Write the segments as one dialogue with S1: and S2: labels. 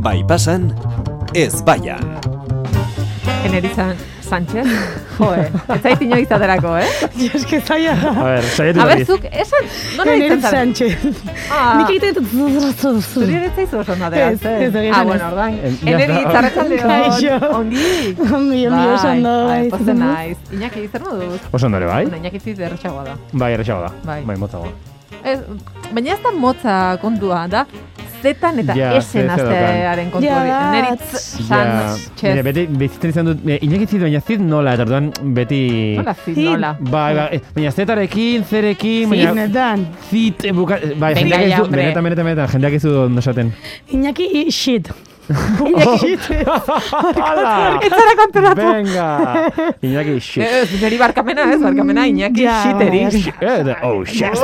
S1: Bai pasan, ez baian.
S2: Eneriza Sánchez. Joe, ez zait inoiz aterako, eh?
S3: Ni eske zaila
S4: A
S3: da.
S4: ber, saiatu
S2: A ber,
S4: bari.
S2: zuk, esan, nola
S3: Nerit
S2: ditzen zara?
S3: Sánchez.
S2: Ah.
S3: Nik egiten dut
S2: Zuri ere ez zaizu oso ondo atera,
S3: Ez,
S2: eh?
S3: ez, egia
S2: Ah,
S3: esan
S2: bueno,
S3: ez. Bai.
S2: orduan.
S4: Em, ja
S2: Eneri,
S4: está.
S2: txarratzaldeon,
S3: Kaixo.
S2: ongi.
S3: Ongi, ongi, oso ondo,
S2: bai,
S3: bai,
S2: pozten
S3: zuk ondo?
S2: naiz. Iñaki, zer moduz?
S4: Oso ondore, bai?
S2: Bueno, Iñaki zit erretxagoa da.
S4: Bai, erretxago da.
S2: Bai.
S4: Bai, motzago.
S2: Ez, baina ez da motza kontua, da zetan eta
S4: Ja, ze-
S2: esen
S4: ze
S2: aztearen kontua.
S3: Ja,
S2: Yeah,
S3: da.
S2: Neritz
S4: Ja, mira,
S2: Sánchez.
S4: beti bizitzen izan dut, mira, Iñaki zit, baina zit nola, eta orduan beti...
S2: Nola zit,
S3: Zin.
S2: nola?
S4: Bai, bai, eh, baina zetarekin, zerekin, baina...
S3: Inetan.
S4: Zit, eh, buka... Bai,
S2: Venga,
S4: jendeak ez
S2: ya,
S4: du,
S2: hombre.
S4: benetan, benetan, benetan, jendeak ez du ondo esaten.
S3: Iñaki i- shit.
S4: Hala!
S2: Zara konturatu.
S4: Venga! Iñaki, shit.
S2: Ez, niri barkamena, ez, barkamena, Iñaki
S3: Ja,
S2: xiterik.
S3: baina-
S4: Eh, da- oh, shit.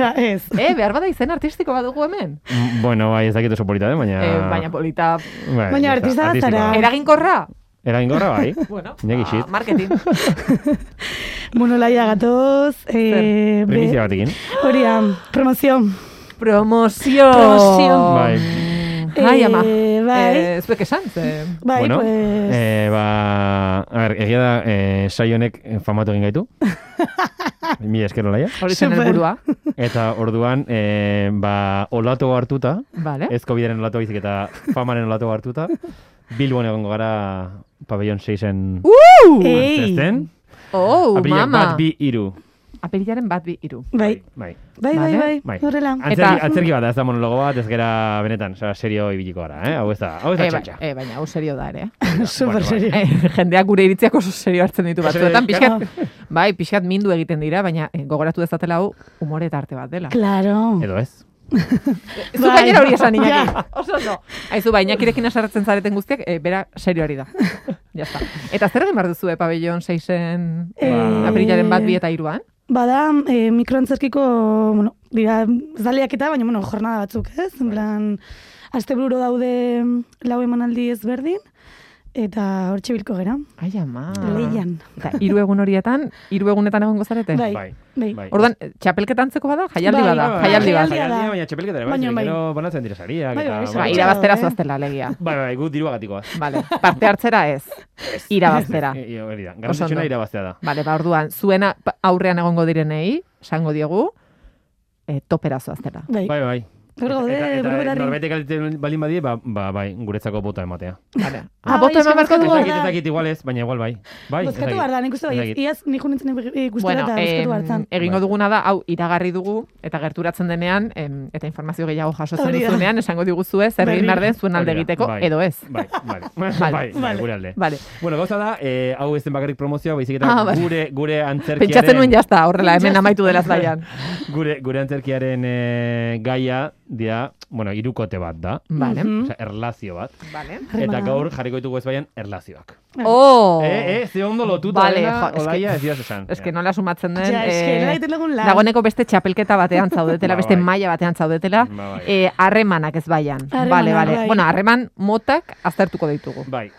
S3: Ja, ez.
S2: Eh, behar bada izen artistiko bat dugu hemen.
S4: Mm, Bueno, bai, ez dakit oso polita, eh, baina...
S2: Eh, baina polita
S4: Bai,
S3: Baina
S4: ya
S3: artista
S4: está,
S3: bat
S4: artistikoa.
S3: zara.
S2: eraginkorra.
S4: Eraginkorra, bai.
S2: Bueno,
S4: Iñaki,
S2: ah,
S4: shit.
S2: marketing.
S3: Bueno, laia gatoz. Eh, be-
S4: Primizia batekin.
S3: Hori da, promozio.
S2: Promozio.
S3: Promozio.
S4: Bai.
S2: Ai,
S3: Eh,
S2: ama.
S3: bai.
S2: Eh, ez duek esan, ze...
S3: Bai,
S4: bueno,
S3: pues...
S4: eh, ba, a ber, egia da, eh, saio honek eh, famatu egin gaitu. Mila esker olaia.
S2: Hori zen
S3: Super.
S2: helburua.
S4: Eta orduan, eh, ba, olato hartuta,
S2: Vale.
S4: ez COVIDaren olato baizik eta famaren olato hartuta, Bilbon egongo gara pabellon 6-en
S2: Uh!
S3: Ei.
S4: zesten.
S2: Oh,
S4: Aprilak
S2: mama.
S4: bat bi iru.
S2: Apirilaren bat bi iru.
S3: Bai,
S4: Bai.
S3: bai, bai,
S2: Vale.
S3: bai,
S4: Bai.
S3: horrela.
S4: Antzerki,
S2: Eta-
S4: antzerki bat, da, ez da monologo bat, ez gara benetan, osea, serio ibiliko gara, eh? Hau ez da, hau ez da
S2: Eh, ba-
S4: txantxa.
S2: eh, baina hau serio da ere.
S3: Super serio.
S2: Eh, jendeak gure iritziak oso serio hartzen ditu batzuetan.
S4: Serio,
S2: Pixkat, bai, pixkat mindu egiten dira, baina eh, gogoratu dezatela hau humore eta arte bat dela.
S3: Claro.
S4: Edo ez.
S2: Zu
S3: Bai.
S2: gainera hori esan
S3: Ja.
S2: Iñaki. Oso ondo. Aizu, ba, Iñakirekin asartzen zareten guztiak, eh, bera serioari da. ja está. Eta zer egin behar duzu, eh, pabellon 6en
S3: Eh,
S4: Ba.
S2: apirilaren bat bi eta iruan?
S3: Bada, eh, mikroantzerkiko, bueno, dira, zaleak eta, baina, bueno, jornada batzuk, ez?
S4: Bai.
S3: En plan, aste daude mm, lau emanaldi ezberdin, eta hor txibilko gera,
S2: Ai, ama.
S4: Ah.
S3: leian.
S2: Eta hiru egun horietan, hiru egunetan egongo zarete?
S3: Bai,
S4: Bai,
S3: bai.
S4: bai.
S2: Orduan, txapelketantzeko bada, jaialdi
S3: Bai,
S2: bada,
S3: bai, bai.
S2: jaialdi bat.
S3: Jaialdi.
S4: Jaialdia
S3: da.
S4: baina txapelketa ere, bai,
S3: Baina
S4: zeren
S3: bai.
S4: gero banatzen dira sariak.
S3: Bai,
S4: eta-
S3: bai,
S2: Ba,
S3: Bai,
S2: irabaztera
S3: bai.
S2: zoaztela legia.
S4: Bai, bai, gu diru bagatikoa.
S2: Vale, parte hartzera ez. Irabaztera.
S4: E, e, hori da, garrantzitsuna
S2: ondo.
S4: irabaztea da.
S2: Vale, ba, orduan, zuena pa- aurrean egongo direnei, esango diogu, eh, topera zoaztela.
S3: Bai,
S4: Bai, bai.
S3: Hor gaude,
S4: Eta- eta-
S3: buru
S4: eta
S3: belarri.
S4: norbaitek galdetzen balin badie, ba, ba, bai, guretzako bota ematea.
S2: Vale. Ah,
S3: Ah,
S2: boto
S3: bai,
S2: eman barko
S3: eskatu
S2: dugu?
S3: behar
S4: Ez dakit, ez
S3: da.
S4: dakit, igual ez, baina igual bai. Bai, ez
S3: Bozkatu
S4: dakit.
S3: behar da, nik uste
S4: Ez
S3: bai,
S4: dakit.
S3: iaz nik honetzen ikustela
S2: Bueno,
S3: eta bozkatu behar
S2: em,
S3: zan.
S2: egingo
S4: Bai.
S2: duguna da, hau iragarri dugu, eta gerturatzen denean, em, eta informazio gehiago jasotzen
S3: Hori da.
S2: duzunean, esango diguzue, zer egin
S3: Berriro.
S2: behar den zuen alde
S4: Hori da,
S2: egiteko,
S4: bai.
S2: edo ez.
S4: Bai, bai,
S2: Vale.
S4: bai, bai, bai, gure alde.
S2: Vale.
S4: Bueno, gauza da, eh, hau ez den bakarrik promozioa, baizik eta
S2: Ah, vale.
S4: gure, gure antzerkiaren...
S2: Pentsatzen nuen jazta, horrela, hemen amaitu dela zailan.
S4: Gure, gure antzerkiaren eh, gaia, dira, bueno, irukote bat da.
S2: Vale,
S3: Mhm. Mm.
S4: Osea, erlazio bat.
S2: vale.
S4: Eta
S3: Harremana.
S4: gaur jarriko ditugu ez baian erlazioak.
S2: Oh!
S4: Eh, eh, ze ondo lotuta
S2: Vale,
S4: vale, dena,
S2: jo, eske-
S4: olaia ez dios esan. Eh,
S2: Ez que nola sumatzen den.
S3: Ja, eske,
S2: eh,
S3: nola egiten dugun lan.
S2: Dagoeneko beste txapelketa batean zaudetela,
S4: Ba,
S2: beste
S4: bai.
S2: maila batean zaudetela.
S4: Ba, bai.
S2: eh, Harremanak ez baian.
S3: Harremanak,
S2: Vale, vale.
S3: bai.
S2: Bueno, harreman motak aztertuko ditugu.
S4: Bai,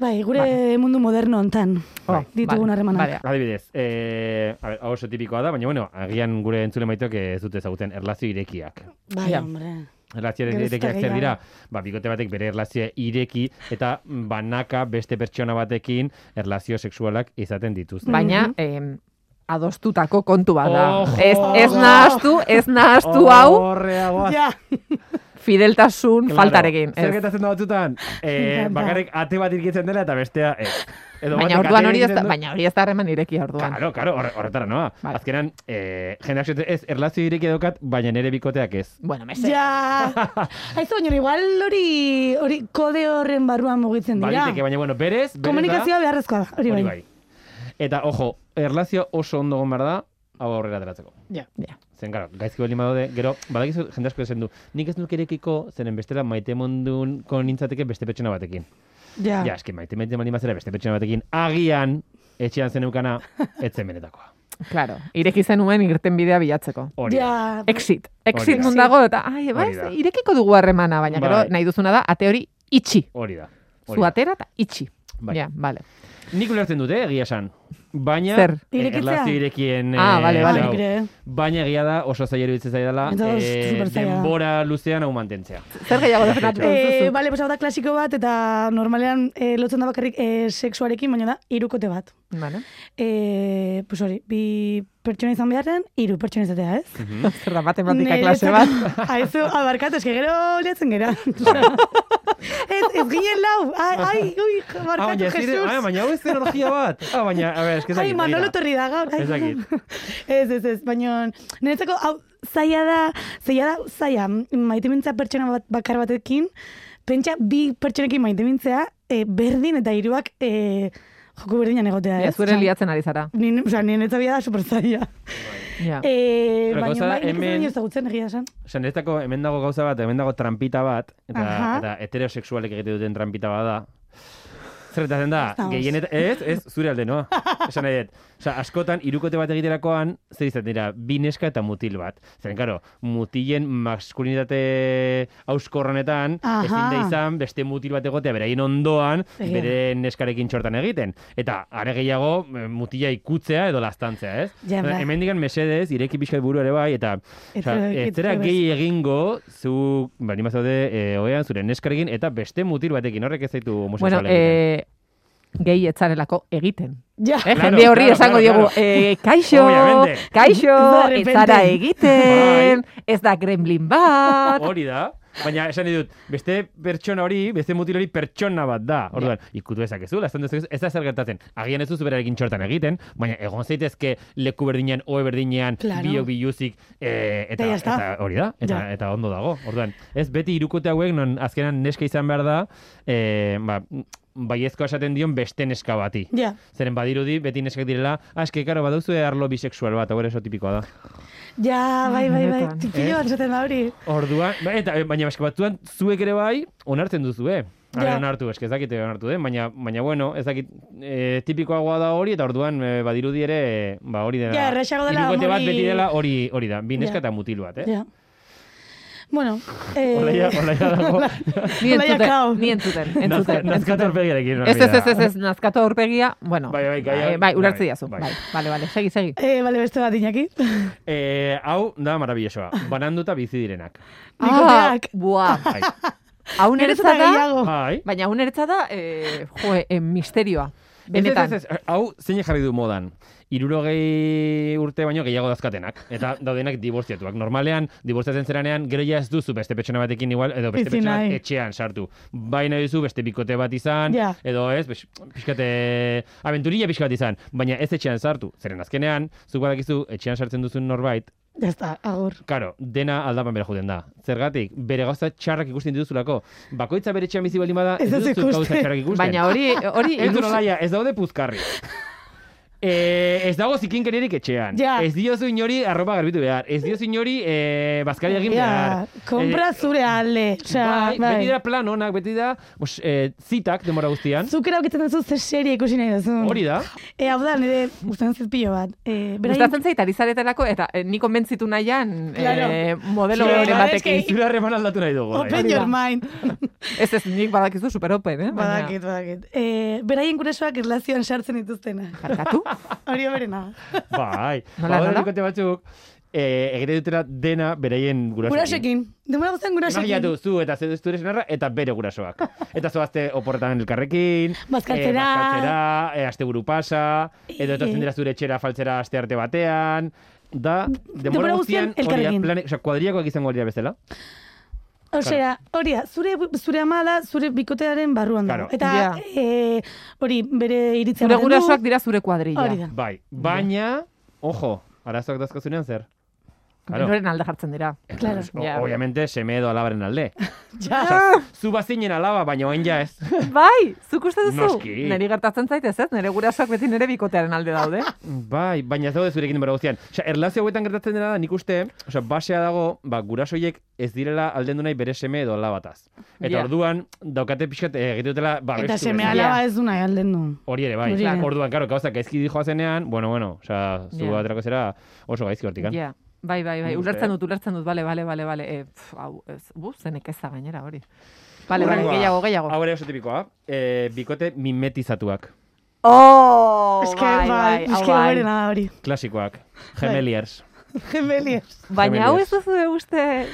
S3: Bai, gure mundu moderno hontan
S2: Oh,
S3: ditugun
S2: vale,
S3: harremanak.
S2: vale.
S4: adibidez, eh, a ber, hau oso tipikoa da, baina bueno, agian gure entzule maitek ez dute ezagutzen erlazio irekiak.
S3: Bai,
S2: Ja.
S3: hombre.
S4: Erlazio
S3: Gero ez da
S4: irekiak zer
S3: gehiago.
S4: dira? Ba, bikote batek bere erlazioa ireki eta banaka beste pertsona batekin erlazio sexualak izaten dituzte.
S2: Baina, eh, adostutako kontu bat da.
S4: Ojo!
S2: Ez, ez nahastu, ez nahastu hau
S4: Horreagoa
S3: Ja,
S2: fideltasun
S4: Claro.
S2: faltarekin.
S4: Zer
S2: Ez.
S4: gertatzen da batzutan? Eh,
S3: encanta.
S4: bakarrik ate bat irkitzen dela eta bestea ez. Edo
S2: Baina
S4: batek
S2: orduan
S4: atea
S2: hori ez da,
S4: irkitzen du-
S2: baina hori ez da harreman irekia orduan.
S4: Claro, claro, horre- horretara noa.
S2: Vale.
S4: Azkenan, eh, jendeak zuten, ez, erlazio ireki daukat, baina nere bikoteak ez.
S2: Bueno, mese.
S3: ja. Aizu, baina igual hori hori kode horren barruan mugitzen dira.
S4: Baliteke, baina, bueno, berez, berez
S3: Komunikazioa beharrezkoa da,
S4: da,
S3: hori
S4: hori
S3: bai.
S4: bai. Eta, ojo, erlazio oso ondo egon behar da, hau aurrera ateratzeko.
S3: Ja.
S2: Ja.
S4: Zen, claro, gaizki bali daude, gero, badakizu jende asko esan du, nik ez nuk erekiko, zenen bestela maite mondun kon nintzateke beste pertsona batekin.
S3: Ja.
S4: bai. Ja, eski maite maite bali mazera beste pertsona batekin, agian, etxean zeneukana, etzen benetakoa.
S2: Claro, ireki zenuen irten bidea bilatzeko.
S4: Hori bai. da.
S3: Ja,
S2: Exit. Exit
S4: da.
S2: nun dago eta ai, ba,
S4: Hori da.
S2: ez, irekiko dugu harremana, baina gero
S4: Bai.
S2: nahi duzuna da ate hori itxi.
S4: Hori da.
S2: Zu
S4: Hori da.
S2: atera eta itxi.
S4: Bai.
S2: Ja, vale.
S4: Nik ulertzen dute, egia esan. baina...
S2: Zer?
S4: eh,
S3: Irekitzea?
S4: erlazio irekien...
S2: Ah,
S4: eh,
S2: bale, bale.
S4: hau.
S3: Nik ere, eh.
S4: Baina egia da oso zaila iruditzen zaidala
S3: Eta oso
S4: eh,
S3: super zaila.
S4: denbora luzean hau mantentzea.
S2: Zer gehiago defendatu
S3: E,
S2: duzu?
S3: bale, pues hau da klasiko bat, eta normalean e, lotzen da bakarrik e, seksuarekin, baina da, irukote bat.
S2: Bale.
S3: E, pues hori, bi pertsona izan beharren, iru pertsona izatea, ez?
S4: Hmm?
S2: Zer da, matematika klase
S3: Niretzako-
S2: bat.
S3: Aizu, abarkatu, eske gero lehatzen gera. ez, ez ginen lau, ai, ai, ui,
S4: Ah,
S3: barkatu,
S4: baina, ez dire-
S3: Jesus.
S4: ah, baina hau ez energia bat. Ah, baina, a ver, eske
S3: Ai, Manolo bai. torri da gaur. Ai.
S4: Ez dakit.
S3: ez, ez, ez, baina niretzako hau zaila da, zaila da, zaila, maitemintza pertsona bat, bakar batekin, pentsa bi pertsonekin maitemintzea, e, berdin eta hiruak e, joko berdinan egotea,
S2: Ja,
S3: ez?
S2: zure liatzen ari zara.
S3: Ni, osea, ni niretzabia da super zaila.
S2: Ja.
S3: Eh,
S4: Pero gauza
S3: baina bai,
S4: da,
S3: nik ez
S4: hemen-
S3: dut ezagutzen egia esan.
S4: Sanetako, hemen dago gauza bat, hemen dago trampita bat, eta,
S3: Aha.
S4: eta heterosexualek egite duten trampita bat da. Zerretazen da,
S3: dagoz.
S4: gehien eta, ez, ez, zure alde, noa. Esan nahi dut. Osa, askotan, irukote bat egiterakoan, zer izaten dira, bi neska eta mutil bat. Zeren, karo, mutilen maskulinitate hauskorranetan,
S3: Aha.
S4: ezin da izan, beste mutil bat egotea, beraien ondoan,
S3: Egia.
S4: bere neskarekin txortan egiten. Eta, are gehiago, eh, mutila ikutzea edo lastantzea, ez?
S3: Ja,
S4: Hemen
S3: ba.
S4: digan mesedez, ireki pixka buru ere bai, eta Osea,
S3: Hetero-
S4: ez zera
S3: hetero-
S4: gehi egingo, zu, bali mazaude, e, oean, zure neskarekin, eta beste mutil batekin, horrek ez zaitu
S2: Bueno,
S4: homosexual egiten.
S2: eh, gehi etzarelako egiten.
S3: Ja.
S2: Eh,
S4: Claro,
S2: jende horri
S4: claro,
S2: esango
S4: claro,
S2: diogu,
S4: claro.
S2: eh, kaixo,
S4: Obviamente. Bai,
S2: kaixo,
S3: Ez da de
S2: ez zara
S3: repente.
S2: egiten, ez da gremlin bat.
S4: Hori da, baina esan nahi dut, beste pertsona hori, beste mutil hori pertsona bat da. Orduan, ikutu dezakezu, lastan dezakezu, ez da zer gertatzen. Agian ez duzu berarekin txortan egiten, baina egon zaitezke leku berdinean, oe berdinean,
S3: Claro.
S4: biok biluzik, eh,
S3: Eta
S4: eta,
S3: ya
S4: eta,
S3: está.
S4: hori da, eta,
S3: Ja.
S4: eta ondo dago. Orduan, ez beti irukote hauek, non azkenan neska izan behar da, eh, ba, baiezkoa esaten dion beste neska bati.
S3: Ja.
S4: Zeren badirudi, beti neskak direla, "Ah, aske, karo, baduzu arlo bisexual bat, hau ere oso tipikoa da.
S3: Ja, bai, bai, bai.
S2: Benetan.
S4: Eh?
S3: Tipillo bat esaten da hori.
S4: Orduan, ba- eta eh, baina eske batzuan zuek ere bai onartzen duzu, eh? Hale,
S3: Ja.
S4: onartu, eske ez dakite onartu den, baina baina bueno, ez dakit eh, tipikoagoa da hori eta orduan eh, badirudi ere eh, ba hori dela.
S3: Ja, errazago dela
S4: hirukote bat
S3: hori-
S4: beti dela hori hori da, bi
S3: Ja.
S4: neska eta mutil bat, eh?
S3: Ja. Bueno, eh,
S4: Olaia, olaia dago.
S2: Ni
S3: Olaia kau.
S2: entzuten, ni entzuten, entzuten.
S4: Nazka- Nazkata aurpegiarekin.
S2: Ez, ez, ez, ez, ez, nazkatu aurpegia, bueno,
S4: Bai, bai, gaia-
S2: eh, bai, ulertze
S4: bai,
S2: diazu,
S4: bai.
S2: bai, bale, bale, segi, segi.
S3: eh, bale, beste bat inaki.
S4: Eh, hau da marabillosoa. Bananduta bizi direnak.
S3: Bikoteak.
S2: bua,
S4: Bai.
S2: hau
S3: Gero
S2: niretza
S3: eta
S2: Ah, da,
S3: gehiago.
S4: Bai.
S2: baina hau niretza da, eh, jo, eh, misterioa,
S4: Ez, ez,
S2: benetan.
S4: ez, ez. Hau zein jarri du modan. Irurogei urte baino gehiago dazkatenak. Eta daudenak dibortziatuak. Normalean, dibortziatzen zeranean, gero ja ez duzu beste pertsona batekin igual, edo beste
S3: Ezin
S4: pertsona
S3: nahi.
S4: bat etxean sartu. Bai nahi duzu beste bikote bat izan,
S3: Ja.
S4: edo ez, bes- pixkate, aventurilla pixka bat izan, baina ez etxean sartu. Zeren azkenean, zuk badakizu, etxean sartzen duzun norbait,
S3: Ja está, agur.
S4: Karo, dena aldapan bera juten da. Zergatik, bere gauza txarrak ikusten dituzulako. Bakoitza bere etxean bizi baldin bada, ez
S3: Ez ez
S4: duzu gauza
S3: ikusten.
S4: txarrak ikusten.
S2: Baina hori, hori,
S4: Ez
S2: ilus-
S4: dut olaia, ez daude puzkarri. Eh, ez dago zikinkeririk etxean.
S3: Ja.
S4: Ez diozu inori arropa garbitu behar. Ez diozu inori eh, bazkari egin behar. Eh,
S3: Ja, kompra zure alde. Osea,
S4: bai,
S3: bai.
S4: beti da plan onak, beti da os, eh, zitak demora guztian.
S3: Zuk erauketen duzu ze serie ikusi nahi duzu.
S4: Hori da.
S3: E, hau da, nire gustatzen zait pilo bat. E,
S2: Gustatzen zait ari zaretelako eta eh, ni konbentzitu nahian
S3: Claro.
S2: eh, modelo
S3: Zure
S2: hori
S3: gabe
S2: batekin.
S3: eske-
S4: Zure harreman aldatu nahi dugu. bai.
S3: Open your mind.
S2: Ez ez, nik badakizu super open, eh? Baina-
S3: badakit, badakit. E, beraien gurasoak erlazioan sartzen dituztena.
S2: Barkatu?
S3: Hori berena.
S4: Bai.
S2: Nola,
S4: Ba,
S2: nola?
S4: bikote batzuk, eh, egiten dutera dena beraien gurasoekin.
S3: Gurasoekin. Demora guztien
S4: Imajinatu
S3: gurasoekin.
S4: zu eta ze- zure senarra eta bere gurasoak. Eta zoazte oporretan elkarrekin,
S3: Bazkaltzera. Eh.
S4: eh, bazkaltzera, eh, asteburu pasa, edo etortzen dira zure etxera faltzera aste arte batean, da, denbora
S3: Denbora
S4: guztian,
S3: guztian
S4: hori
S3: elkarrekin.
S4: plane, oza, kuadriakoak izango dira bezala.
S3: Osea, hori da, zure, zure ama da, zure bikotearen barruan da.
S4: Claro.
S3: Eta
S2: Ja.
S3: eh, hori, bere iritzia
S2: Zure
S3: ematen du.
S2: gurasoak dira zure kuadrilla.
S3: Hori da.
S4: Bai, baina, ojo, arazoak dazkazunean zer? Claro.
S2: Noren alde jartzen dira.
S3: Claro.
S4: O-
S2: Ja.
S4: Obviamente, seme edo alabaren alde.
S3: Ja.
S4: Zu bazinen alaba, baina oain ja ez.
S2: Bai, zuk uste duzu?
S4: Noski.
S2: Neri gertatzen zait ez, ez? Nere gurasoak beti nere bikotearen alde daude.
S4: Bai, baina ez daude zurekin denbora guztian. Osea, erlazio hauetan gertatzen dena da nik uste, osea, basea dago, ba, gurasoiek ez direla aldendu nahi bere seme edo alabataz. Eta
S2: Ja.
S4: orduan, daukate pixkat, eh, egite dutela, ba,
S3: Eta
S4: bestu
S3: seme
S4: bezala.
S3: alaba ez du nahi alden du.
S4: Hori ere, bai.
S3: Hori ere.
S4: Orduan, karo, gauza gaizki dihoa zenean, bueno, bueno, osea, zu
S2: Ja.
S4: aterako zera oso gaizki eh? hortikan.
S2: Ja. Bai, bai, bai.
S4: Nik uste,
S2: Ulertzen
S4: eh?
S2: dut, ulertzen dut. Bale, bale, bale, bale. E, pf, hau, ez, bu, zenek ez da gainera hori. Bale, bale,
S4: Hurrengoa.
S2: gehiago, gehiago.
S4: Hau ere oso tipikoa, eh, bikote mimetizatuak.
S5: Oh,
S3: eske,
S5: bai, bai, hau
S3: eske
S5: bai.
S3: hoberena da hori.
S4: Klasikoak. Gemeliers.
S3: Gemeliers.
S2: Baina hau ez
S4: Gemeliers.
S2: duzu uste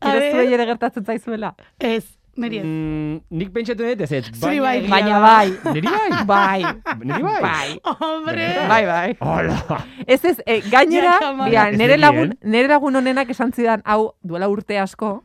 S3: A ber.
S2: zuei ere gertatzen zaizuela.
S3: Ez, niri ez.
S4: Mm, nik pentsatu dut ez ez.
S3: Zuri bai.
S4: egia-
S2: Baina bai.
S4: Niri bai.
S2: Bai.
S4: Niri bai.
S2: Bai.
S3: Hombre!
S2: Bai, bai.
S4: Hola.
S2: Ez ez, eh, gainera,
S3: Ja, jamás.
S2: mira,
S4: Ez
S2: nere
S4: nekien.
S2: lagun, nere lagun honenak esan zidan, hau, duela urte asko,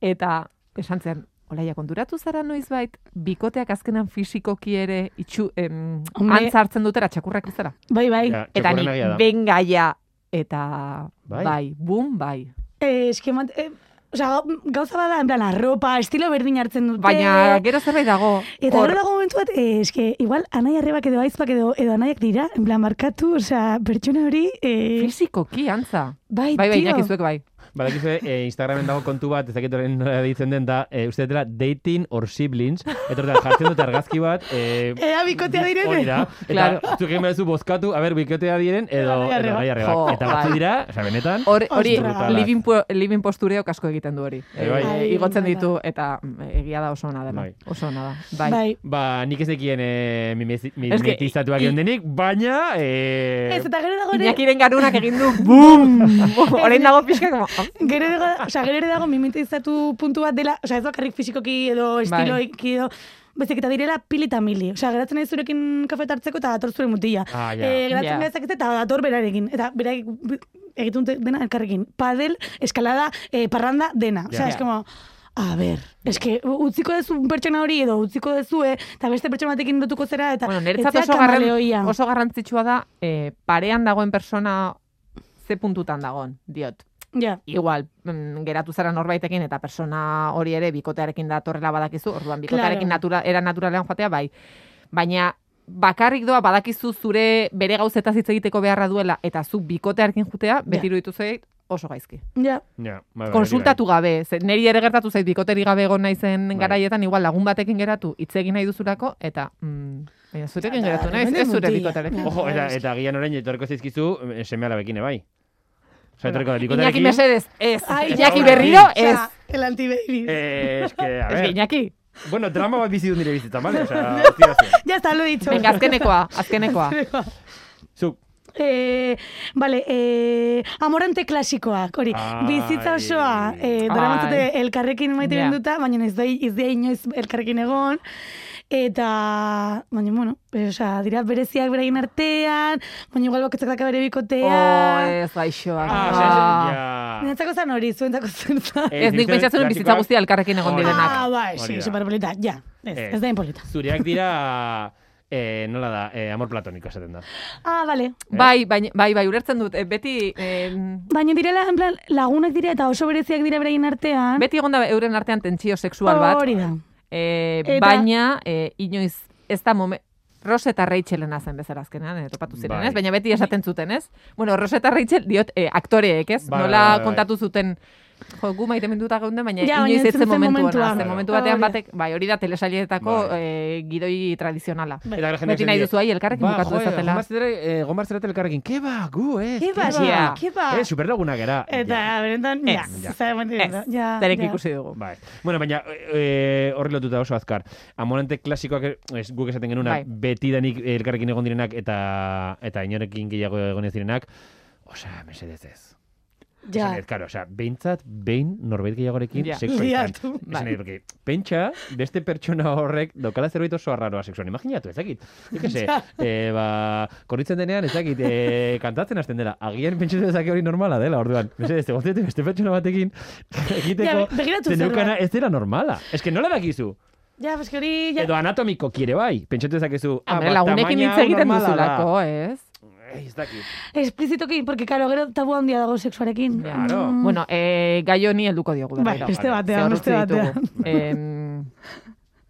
S2: eta esan zidan, Olaia, konturatu zara noizbait, bikoteak azkenan fisikoki ere itxu, em,
S3: Hombre.
S2: antzartzen dutera, txakurrak izara.
S3: Bai, bai.
S4: Ja,
S2: Eta
S4: txokorren
S2: ni
S4: egia da.
S2: bengaia, eta
S4: Bai.
S2: bai, bum, bai.
S3: Eh, eske, mat, eh, osea, gauza bada, en plan, arropa, estilo berdin hartzen dute.
S2: Baina gero zerbait dago.
S3: Eta
S2: hor.
S3: hor dago momentu bat, eh, eske, igual, anai arrebak edo aizpak edo, edo anaiak dira, en plan, markatu, osea, pertsona hori, eh,
S2: Fisikoki antza.
S3: bai,
S2: Bai, bai,
S3: tio.
S2: jakizuek bai.
S4: Badakizue, eh, Instagramen dago kontu bat, ez dakit horren nola deitzen den da, eh, uste dela dating or siblings, eta horretan jartzen dut argazki bat, eh,
S3: Ea bikotea direne.
S4: Hori da. Eta
S2: Claro.
S4: zuk egin behar duzu bozkatu, a ber, bikotea diren, edo
S3: Edo anai
S4: edo
S3: arreba.
S4: anai arrebak.
S2: Jo,
S4: Eta
S2: bai.
S4: batzu dira, oza, benetan,
S2: Hor- Hori,
S3: Ostras.
S2: living, po, living postureok asko egiten du hori.
S4: Eh, bai.
S2: Eh,
S3: Ai,
S2: igotzen
S3: egia
S2: ditu, eta mm, egia da oso ona dela.
S4: Bai.
S2: Oso ona da. Bai.
S3: Bai.
S4: ba, nik ez dekien eh,
S2: Ez
S4: mimezi-
S2: que-
S4: mimetizatuak egon denik, baina... Eh,
S3: Ez, eta gero dago ere,
S2: Iñakiren garunak egin du, bum!
S3: Bai.
S2: Orain dago pixka, como... ah,
S3: gero dago, osea, gero ere dago mimetizatu puntu bat dela, osea, ez bakarrik fisikoki
S2: Bai.
S3: edo estiloiki edo, Bezik eta direla pili eta mili. Osea, geratzen nahi zurekin kafetartzeko eta dator zure mutila.
S4: Ah, ja.
S3: Eh, geratzen
S2: Ja.
S3: yeah. eta dator berarekin. Eta berak egiten dute dena elkarrekin. Padel, eskalada, eh, parranda, dena.
S4: Ja.
S3: Osea,
S4: Ja.
S3: es como, a ber, eske utziko duzu pertsona hori edo utziko duzu, eh, eta beste pertsona batekin lotuko zera eta
S2: Bueno,
S3: ez
S2: niretzat
S3: zea
S2: oso, garran,
S3: kamaleoia.
S2: oso garrantzitsua da, eh, parean dagoen persona ze puntutan dagoen, diot.
S3: Ja.
S2: Igual, mm, geratu zara norbaitekin eta persona hori ere bikotearekin datorrela badakizu, orduan bikotearekin
S3: Claro.
S2: natura, era naturalean joatea, bai. Baina bakarrik doa badakizu zure bere gauzetaz hitz egiteko beharra duela eta zu bikotearekin jutea, beti
S3: Ja.
S2: iruditu zait oso gaizki.
S3: Ja.
S4: ja, bai, bai,
S2: Konsultatu gabe, ze, neri ere gertatu zait bikoteri gabe egon naizen
S4: Bai.
S2: garaietan igual lagun batekin geratu hitz egin nahi duzulako eta mm, baina zurekin
S3: Ja,
S2: geratu
S3: da,
S2: naiz, ez
S3: hemen
S2: zure
S3: mutila.
S2: bikotearekin.
S4: bai. Ojo, eta, eta gian orain etorko zizkizu, eh, seme alabekin, eh, bai. Osa, etorko da,
S2: Iñaki
S4: bikotearekin...
S2: mesedez, ez.
S3: Ai,
S2: Iñaki
S4: ja.
S2: berriro, ez.
S3: Osea, el antibaby.
S4: Eh, es que, a
S2: Ez que
S4: ver,
S2: Iñaki,
S4: bueno, drama bat bizi dut nire bizitzan, bale? Osa, tira zuen.
S3: Ya está, lo he dicho.
S2: venga, azkenekoa, azkenekoa.
S4: Zuk,
S3: Eh, vale, eh, amorante klasikoak, hori.
S4: Ai.
S3: Bizitza osoa, eh, daramatzate elkarrekin maite
S2: Ja.
S3: benduta, baina ez da ez dira inoiz elkarrekin egon. Eta, baina, bueno, eh, osea, dira bereziak beraien artean, baina igual bakoitzak daka bere bikotea.
S2: Oh, ez gaixoak.
S4: ah, osa,
S2: Ah,
S4: ja...
S3: Niretzako zan hori, zuentzako zen zan.
S4: Eh,
S2: Ez nik
S4: zure
S2: pentsatzen dut bizitza
S4: klasikoak-
S2: guztia elkarrekin egon
S4: Hori da.
S2: direnak.
S3: Ah, bai,
S4: Hori
S3: sí,
S4: da.
S3: superpolita, ja. Ez,
S4: Eh.
S3: ez da impolita.
S4: Zureak dira, eh, nola da, eh, amor platoniko esaten da.
S3: Ah, vale.
S2: Bai, bai, bai, bai, ulertzen dut, eh, beti... em,
S3: Baina direla, en plan, lagunak dira eta oso bereziak dira beraien artean.
S2: Beti egon da euren artean tentsio sexual bat.
S3: Hori da.
S2: E,
S3: Eta-
S2: Baina, e, inoiz, ez da momen... Ros eta Rachelena zen bezala azkenean, eh, topatu ziren,
S4: Bai.
S2: ez? Baina beti esaten zuten, ez? Bueno, Ros eta Rachel diot eh, aktoreek, ez?
S4: Bai, bai,
S2: Nola
S4: bai, bai.
S2: kontatu zuten, jo, gu maite minduta geunden, baina
S3: Ja, baina
S2: inoiz
S3: ez
S2: ez zen
S3: zen
S2: momentu
S3: momentua.
S2: ona. Zen
S4: Bai.
S2: momentu batean
S3: Hori da.
S2: batek, bai, hori da telesailetako
S4: Bai.
S2: eh, gidoi tradizionala.
S4: Eta
S3: Bai.
S4: gero jendeak
S2: Beti nahi
S4: esaten
S2: duzu, ai,
S4: die,
S2: elkarrekin bukatu
S4: joe,
S2: dezatela.
S4: Gomar zera- eh, gomar zerate elkarrekin, keba, gu, ez.
S2: ba,
S4: keba.
S2: ja.
S3: keba.
S4: Eh, superlagunak gera.
S3: Eta,
S4: Ja.
S3: benetan,
S2: Ez.
S3: ja.
S4: Ja.
S3: Zara ematen
S2: Ez,
S3: dira. ja,
S2: Derek
S3: ja.
S2: ikusi dugu.
S4: Bai. Bueno, baina eh, horri lotuta oso azkar. Amorante klasikoak er- ez, guk esaten
S2: Bai.
S4: genuenak, betidanik eh, elkarrekin egon direnak eta eta inorekin gehiago egon ez direnak. Osea, mesedez ez.
S3: Ja.
S4: Esan, claro, osea, beintzat, behin norbait gehiagorekin
S2: Ja.
S4: sexua izan.
S3: Liatu.
S4: Esan
S2: Bai.
S4: nahi, porque pentsa, beste pertsona horrek daukala zerbait oso arraroa sexuan. Imaginatu, ez dakit. Nik ese, eh, ba, korritzen denean, ez dakit, eh, kantatzen hasten dela. Agian pentsatu dezake hori normala dela, orduan. Mesedez, egotetik beste pertsona batekin egiteko
S3: Ja, be- begiratu
S4: zeneukana ez dela normala. Ez que nola dakizu?
S3: Ja, eske hori, ja.
S4: Edo anatomiko kire bai. Pentsatu dezakezu, ah,
S2: Hombre,
S4: ba,
S2: lagunekin
S4: tamaina
S2: hitz egiten
S4: normala da.
S2: duzulako, ez?
S4: Eh, Ez dakit.
S3: Esplizitoki, porque, karo, gero tabu handia dago seksuarekin.
S4: Claro.
S3: Mm.
S2: Bueno, eh, gai honi helduko diogu.
S3: Bai,
S2: berriro.
S3: beste
S4: Vale.
S3: batean, beste batean.
S2: Em,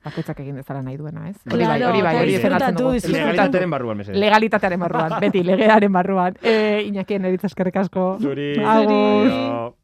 S2: bakoitzak egin dezala nahi duena, ez?
S4: Hori bai,
S3: Claro,
S4: hori bai,
S3: eta
S4: hori
S3: disfrutatu,
S2: esaten dugu.
S3: disfrutatu.
S4: Legalitatearen barruan, mesedez.
S2: Legalitatearen barruan, beti legearen barruan. Eh, Iñaki, neritz eskerrik asko.
S4: Zuri.
S2: Agur.
S4: Aio.